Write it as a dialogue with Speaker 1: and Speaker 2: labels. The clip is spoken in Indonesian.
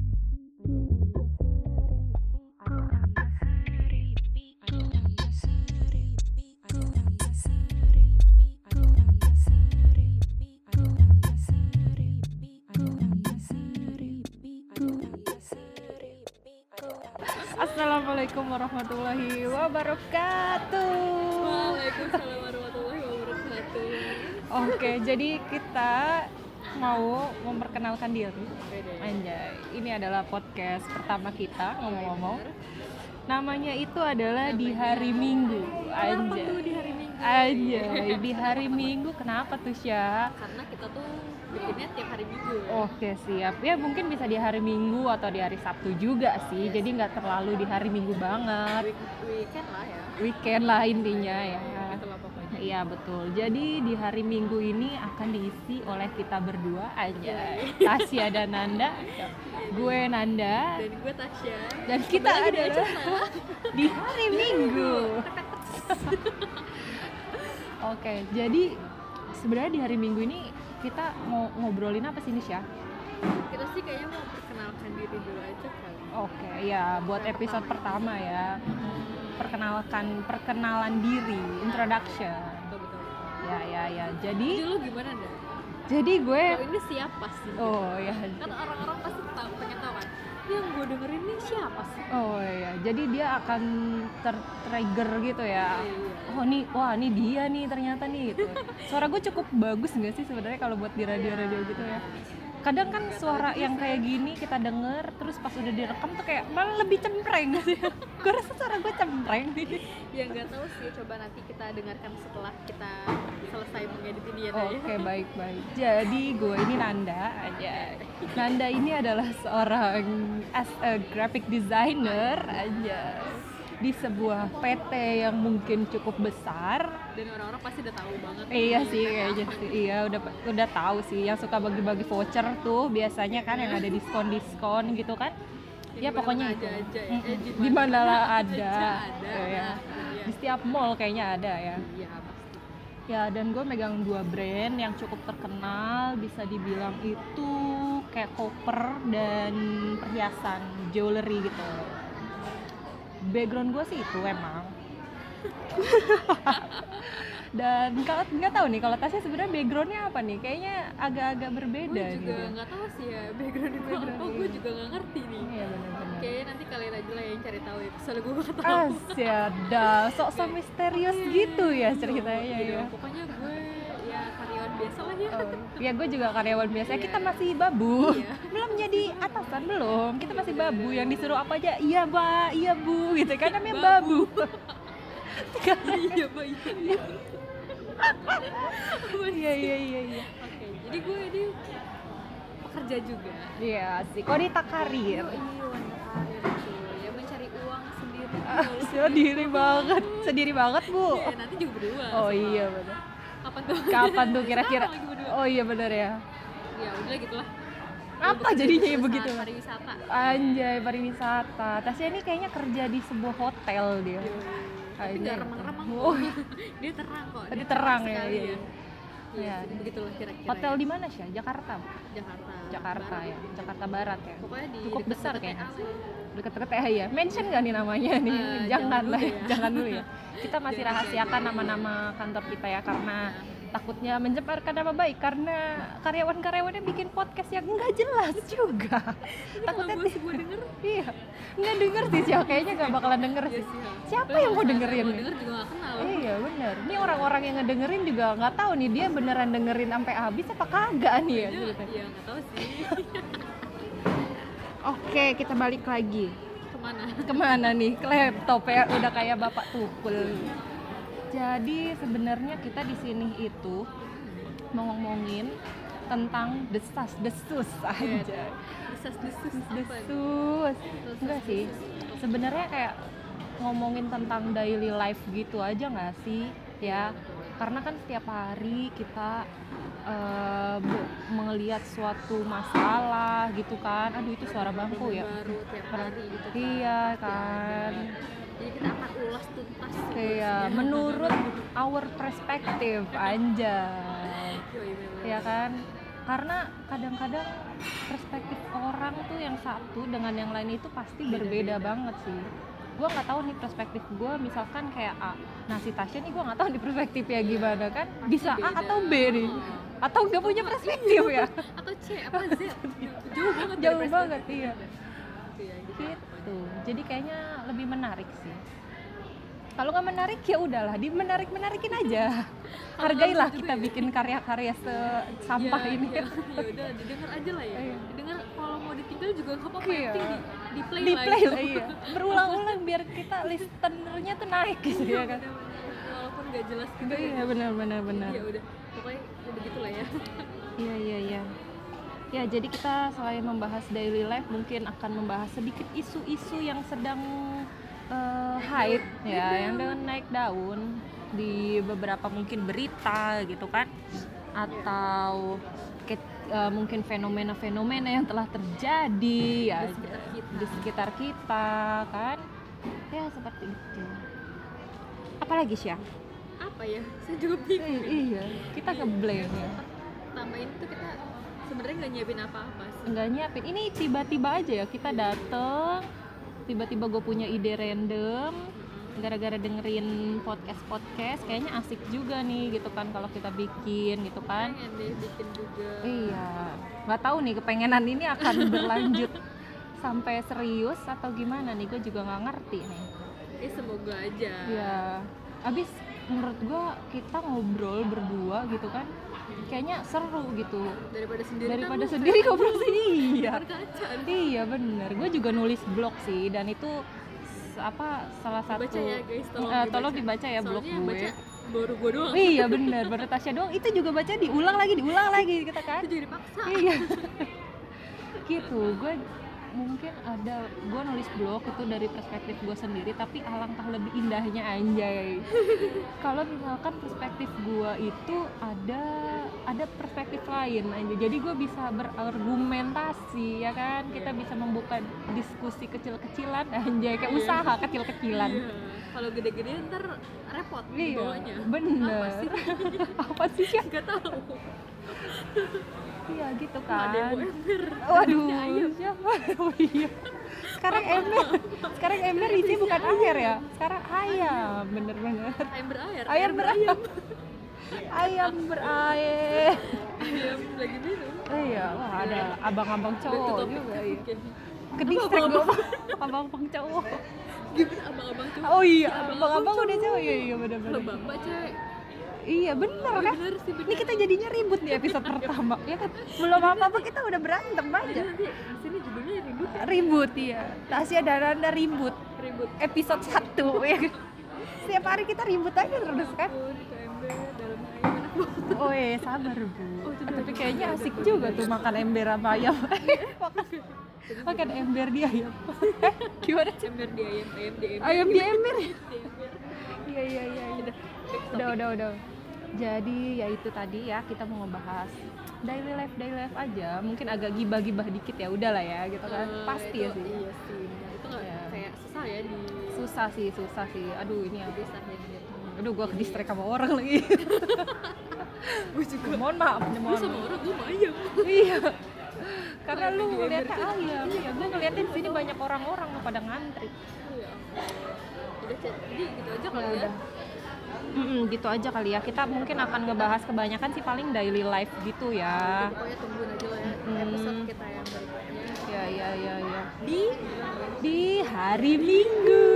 Speaker 1: iya Assalamualaikum warahmatullahi wabarakatuh.
Speaker 2: Waalaikumsalam warahmatullahi wabarakatuh.
Speaker 1: Oke, jadi kita mau memperkenalkan diri.
Speaker 2: Beda.
Speaker 1: Anjay, ini adalah podcast pertama kita ngomong-ngomong. Namanya itu adalah di hari Minggu.
Speaker 2: Kenapa tuh
Speaker 1: Anjay.
Speaker 2: di hari Minggu?
Speaker 1: Anjay, di hari Minggu kenapa tuh Syah?
Speaker 2: Karena kita tuh bikinnya tiap hari Minggu. ya.
Speaker 1: Oke siap ya mungkin bisa di hari Minggu atau di hari Sabtu juga sih jadi nggak terlalu di hari Minggu banget
Speaker 2: Week weekend lah ya.
Speaker 1: weekend lah intinya ya
Speaker 2: Itu lah pokoknya.
Speaker 1: Iya betul. Jadi di hari Minggu ini akan diisi oleh kita berdua aja. Tasya dan Nanda. Gue Nanda
Speaker 2: Dan gue Tasya.
Speaker 1: dan kita
Speaker 2: Kembali di
Speaker 1: adalah
Speaker 2: Acana.
Speaker 1: di hari Minggu. Oke, jadi sebenarnya di hari Minggu ini kita mau ngobrolin apa sih Nisha?
Speaker 2: Kita sih kayaknya mau perkenalkan diri dulu aja kali.
Speaker 1: Oke, ya buat episode pertama ya. Perkenalkan perkenalan diri, introduction.
Speaker 2: Betul betul.
Speaker 1: Ya ya ya.
Speaker 2: Jadi
Speaker 1: Jadi
Speaker 2: lu gimana dah?
Speaker 1: jadi gue
Speaker 2: Kalau ini siapa sih?
Speaker 1: Oh ya,
Speaker 2: Kan orang-orang pasti tahu pengen tahu kan. Yang gue dengerin nih siapa sih?
Speaker 1: Oh iya, jadi dia akan tertrigger gitu ya.
Speaker 2: Iya.
Speaker 1: Oh nih, wah nih dia nih ternyata nih gitu. Suara gue cukup bagus nggak sih sebenarnya kalau buat di radio-radio gitu ya. Kadang kan suara yang kayak gini kita denger, terus pas udah direkam tuh kayak malah lebih cempreng gitu ya. Gue rasa suara gue cempreng nih.
Speaker 2: Ya nggak tahu sih, coba nanti kita dengarkan setelah kita selesai mengedit ini ya. Naya.
Speaker 1: Oke baik baik. Jadi gue ini Nanda aja. Nanda ini adalah seorang as a graphic designer aja di sebuah PT yang mungkin cukup besar.
Speaker 2: Dan orang-orang pasti udah tahu banget.
Speaker 1: Iya sih kayaknya sih. Iya udah udah tahu sih yang suka bagi-bagi voucher tuh biasanya kan yang ada diskon-diskon gitu kan. Ya,
Speaker 2: aja
Speaker 1: pokoknya itu.
Speaker 2: aja. ya. Eh,
Speaker 1: Mm-mm.
Speaker 2: dimana
Speaker 1: Di mana lah
Speaker 2: aja
Speaker 1: ada.
Speaker 2: ada.
Speaker 1: Iya.
Speaker 2: Nah, iya.
Speaker 1: Di setiap mall kayaknya ada ya.
Speaker 2: Iya, pasti.
Speaker 1: Ya, dan gue megang dua brand yang cukup terkenal, bisa dibilang itu kayak koper dan perhiasan, jewelry gitu. Background gue sih itu emang. dan kalau nggak tahu nih kalau Tasya sebenarnya backgroundnya apa nih? Kayaknya agak-agak berbeda gitu.
Speaker 2: Gue juga
Speaker 1: nih.
Speaker 2: nggak tahu sih ya background gue
Speaker 1: Background
Speaker 2: apa.
Speaker 1: lu.
Speaker 2: Gue juga nggak ngerti nih.
Speaker 1: Iya benar-benar.
Speaker 2: Kayaknya nanti kalian aja lah yang cari tahu ya. Soalnya gue nggak tahu.
Speaker 1: Asya, dah sok-sok misterius gitu ya ceritanya
Speaker 2: Gitu.
Speaker 1: ya.
Speaker 2: Pokoknya gue ya karyawan biasa lah ya.
Speaker 1: Oh, ya gue juga karyawan biasa. Kita masih babu.
Speaker 2: Iya.
Speaker 1: Belum jadi atasan belum. Kita masih babu yang disuruh apa aja. Iya, Mbak. Iya, Bu. Gitu kan namanya babu.
Speaker 2: Iya, Mbak, iya, iya.
Speaker 1: Iya, iya, iya, iya.
Speaker 2: Oke, jadi gue ini pekerja juga.
Speaker 1: Iya, sih. Wanita
Speaker 2: Iya,
Speaker 1: karir.
Speaker 2: wanita karir tuh. Ya mencari uang sendiri.
Speaker 1: Ah. Sendiri banget. Sendiri banget, Bu.
Speaker 2: Ya, nanti juga berdua.
Speaker 1: Oh
Speaker 2: sama.
Speaker 1: iya benar.
Speaker 2: Kapan tuh?
Speaker 1: Kapan tuh kira-kira?
Speaker 2: Sama lagi berdua.
Speaker 1: Oh iya benar ya.
Speaker 2: Ya udah gitulah. gitu,
Speaker 1: Apa jadinya ya begitu?
Speaker 2: Pariwisata.
Speaker 1: Anjay, pariwisata. Tasya ini kayaknya kerja di sebuah hotel dia.
Speaker 2: Tapi
Speaker 1: Anjay.
Speaker 2: nggak remang-remang kok.
Speaker 1: Oh,
Speaker 2: Dia terang kok.
Speaker 1: Tadi
Speaker 2: Dia
Speaker 1: terang ya,
Speaker 2: sekali
Speaker 1: iya, iya. Iya.
Speaker 2: Iya, jadi begitulah kira-kira.
Speaker 1: hotel
Speaker 2: ya.
Speaker 1: di mana sih? Jakarta.
Speaker 2: Jakarta.
Speaker 1: Jakarta
Speaker 2: Barat.
Speaker 1: ya, Jakarta Barat ya.
Speaker 2: Pokoknya di
Speaker 1: Cukup
Speaker 2: dekat
Speaker 1: besar
Speaker 2: PTA
Speaker 1: kayaknya.
Speaker 2: lah ya.
Speaker 1: Deket-deket eh ya. Mention nggak nih namanya nih?
Speaker 2: Eh,
Speaker 1: jangan
Speaker 2: jangan
Speaker 1: lah,
Speaker 2: dulu ya.
Speaker 1: jangan dulu ya. Kita masih
Speaker 2: Jangan,
Speaker 1: rahasiakan
Speaker 2: jangan.
Speaker 1: nama-nama kantor kita ya karena
Speaker 2: Nah,
Speaker 1: takutnya mencemarkan nama baik karena karyawan-karyawannya bikin podcast yang nggak jelas juga.
Speaker 2: ini kalau
Speaker 1: takutnya
Speaker 2: gue sih gue denger.
Speaker 1: iya, nggak denger sih Cio. kayaknya nggak bakalan denger
Speaker 2: Iya
Speaker 1: sih.
Speaker 2: sih. ya.
Speaker 1: Siapa
Speaker 2: Padahal
Speaker 1: yang mau
Speaker 2: kalau
Speaker 1: dengerin
Speaker 2: Mau
Speaker 1: nih?
Speaker 2: denger juga nggak kenal.
Speaker 1: Iya bener, ini orang-orang yang ngedengerin juga nggak tahu nih dia beneran dengerin sampai habis apa kagak nih ya.
Speaker 2: Iya,
Speaker 1: ceritanya.
Speaker 2: iya nggak tahu sih.
Speaker 1: Oke kita balik lagi.
Speaker 2: Kemana?
Speaker 1: kemana nih ke laptop ya udah kayak bapak tukul jadi sebenarnya kita di sini itu mau ngomongin tentang desas desus aja
Speaker 2: Desas desus apa? ya? nih?
Speaker 1: desus enggak sih sebenarnya kayak ngomongin tentang daily life gitu aja nggak sih ya karena kan setiap hari kita eh, bu- melihat suatu masalah gitu kan aduh itu suara bangku ya
Speaker 2: Baru tiap hari gitu. kan.
Speaker 1: iya
Speaker 2: Ya,
Speaker 1: kan
Speaker 2: ya. Jadi kita akan ulas tuntas.
Speaker 1: Iya,
Speaker 2: seterusnya.
Speaker 1: menurut our perspective anjay.
Speaker 2: Yoi, memang.
Speaker 1: Ya kan? Karena kadang-kadang perspektif orang tuh yang satu dengan yang lain itu pasti berbeda
Speaker 2: Beda-beda.
Speaker 1: banget sih. Gua nggak tahu nih perspektif gua misalkan kayak A. Nah, si Tasya nih gua nggak tahu nih perspektifnya gimana kan?
Speaker 2: Pasti
Speaker 1: Bisa A
Speaker 2: beda.
Speaker 1: atau B nih.
Speaker 2: Oh.
Speaker 1: Atau nggak punya perspektif ya.
Speaker 2: atau C apa Z jauh banget dari
Speaker 1: Jauh
Speaker 2: perspektif
Speaker 1: banget,
Speaker 2: kita.
Speaker 1: iya.
Speaker 2: gitu ya gitu.
Speaker 1: gitu jadi kayaknya lebih menarik sih kalau nggak menarik ya udahlah di menarik menarikin aja hargailah kita bikin karya-karya se- sampah
Speaker 2: Ya,
Speaker 1: ini
Speaker 2: ya, ya udah didengar aja lah ya
Speaker 1: Iya.
Speaker 2: didengar kalau mau ditinggal juga nggak apa-apa
Speaker 1: Iya.
Speaker 2: yang penting di, play
Speaker 1: di play
Speaker 2: lah ya.
Speaker 1: lah iya berulang-ulang biar kita listenernya tuh naik gitu ya kan
Speaker 2: walaupun nggak jelas gitu
Speaker 1: iya benar benar benar
Speaker 2: ya udah pokoknya ya begitulah ya
Speaker 1: iya iya iya ya jadi kita selain membahas daily life mungkin akan membahas sedikit isu-isu yang sedang eh, hype ya yang dengan naik daun di beberapa mungkin berita gitu kan atau ke- eh, mungkin fenomena-fenomena yang telah terjadi ya
Speaker 2: di sekitar kita
Speaker 1: di sekitar kita kan ya seperti itu apalagi sih ya
Speaker 2: apa ya saya juga bingung ya.
Speaker 1: iya kita ngeblank ya
Speaker 2: tambahin tuh kita sebenarnya nggak nyiapin apa-apa sih
Speaker 1: nggak nyiapin ini tiba-tiba aja ya kita dateng tiba-tiba gue punya ide random gara-gara dengerin podcast podcast kayaknya asik juga nih gitu kan kalau kita bikin gitu kan
Speaker 2: pengen deh bikin juga
Speaker 1: iya nggak tahu nih kepengenan ini akan berlanjut sampai serius atau gimana nih gue juga nggak ngerti nih
Speaker 2: ya semoga aja
Speaker 1: Iya. Abis menurut gua kita ngobrol berdua gitu kan, kayaknya seru gitu.
Speaker 2: daripada sendiri kan
Speaker 1: Daripada
Speaker 2: lu
Speaker 1: sendiri ngobrol sih. Iya.
Speaker 2: berkaca
Speaker 1: Iya bener. Gue juga nulis blog sih dan itu s- apa salah satu.
Speaker 2: baca ya guys tolong,
Speaker 1: Eh, tolong dibaca ya blog
Speaker 2: Soalnya yang
Speaker 1: gue.
Speaker 2: baca baru gue doang
Speaker 1: Iya bener. Baru Tasya doang. Itu juga baca diulang lagi, diulang lagi kita kan.
Speaker 2: itu jadi paksa
Speaker 1: iya gitu gue mungkin ada gue nulis blog itu dari perspektif gue sendiri tapi alangkah lebih indahnya anjay kalau misalkan perspektif gue itu ada ada perspektif lain aja jadi gue bisa berargumentasi ya kan kita
Speaker 2: Iya.
Speaker 1: bisa membuka diskusi kecil-kecilan anjay kayak
Speaker 2: Iya.
Speaker 1: usaha kecil-kecilan
Speaker 2: Iya. kalau gede-gede ntar repot
Speaker 1: Iya,
Speaker 2: dibawanya apa
Speaker 1: bener
Speaker 2: sih
Speaker 1: apa sih Sya?
Speaker 2: nggak tahu
Speaker 1: iya gitu
Speaker 2: Nggak ada yang
Speaker 1: kan
Speaker 2: mau ember
Speaker 1: Waduh,
Speaker 2: Ini ayam.
Speaker 1: siapa? Oh iya. Sekarang ember, sekarang ember ini bukan air ya. Sekarang ayam, bener-bener.
Speaker 2: ayam berair
Speaker 1: Air berayam. Ayam berair.
Speaker 2: ayam Iya, lagi minum
Speaker 1: Oh iya, wah ada abang-abang
Speaker 2: Udah tuh
Speaker 1: cowok
Speaker 2: topik
Speaker 1: juga.
Speaker 2: tuh,
Speaker 1: Iya.
Speaker 2: oke.
Speaker 1: Kedistrik gue abang-abang cowok.
Speaker 2: gimana abang-abang cowok
Speaker 1: Oh iya,
Speaker 2: Ya,
Speaker 1: abang-abang udah cowok. Iya, iya
Speaker 2: kalau
Speaker 1: bener-bener.
Speaker 2: bapak cewek
Speaker 1: Iya, bener kan?
Speaker 2: bener sih bener
Speaker 1: Ini kita jadinya ribut di episode pertama. Ya kan? Belum apa-apa kita udah berantem
Speaker 2: Jadi
Speaker 1: aja.
Speaker 2: nanti di sini judulnya ribut ya
Speaker 1: Ribut iya. Tasya dan Anda ribut.
Speaker 2: ribut
Speaker 1: episode 1 ya kan? Setiap hari kita ribut aja terus kan.
Speaker 2: Ampun, itu ember dalam ayam enak banget
Speaker 1: Oh eh, sabar bu.
Speaker 2: Oh, itu
Speaker 1: Tapi
Speaker 2: udah-
Speaker 1: kayaknya asik juga tuh makan ember sama ayam. makan, makan ember di ayam. Eh, Gimana?
Speaker 2: ember di ayam ayam di ember
Speaker 1: Ayam di ember.
Speaker 2: di ember
Speaker 1: Iya iya iya. iya. Udah udah udah. Jadi ya itu tadi ya kita mau ngebahas daily life daily life aja. Mungkin agak gibah-gibah dikit ya udahlah ya gitu kan.
Speaker 2: Eh,
Speaker 1: Pasti
Speaker 2: itu-
Speaker 1: ya sih.
Speaker 2: iya sih bener. itu nggak
Speaker 1: Iya.
Speaker 2: kayak susah ya di
Speaker 1: Susah sih susah sih. Aduh ini aku.
Speaker 2: disahin gitu
Speaker 1: Aduh gua ke distract sama orang lagi.
Speaker 2: gue juga
Speaker 1: mohon maaf nih
Speaker 2: gue
Speaker 1: mohon
Speaker 2: sama orang gue sama ayam
Speaker 1: iya karena
Speaker 2: Kayak
Speaker 1: lu
Speaker 2: video
Speaker 1: ngeliatnya ayam ya gue ngeliatnya di sini banyak orang-orang lu pada ngantri
Speaker 2: Iya. udah Cet. jadi gitu aja
Speaker 1: ya
Speaker 2: kali ya
Speaker 1: udah Mm-mm, gitu aja kali ya kita mungkin akan ngebahas kebanyakan sih paling daily life gitu ya
Speaker 2: pokoknya tungguin aja lah ya
Speaker 1: Hmm.
Speaker 2: episode
Speaker 1: Iya,
Speaker 2: kita yang berikutnya
Speaker 1: ya ya ya ya
Speaker 2: di
Speaker 1: di hari minggu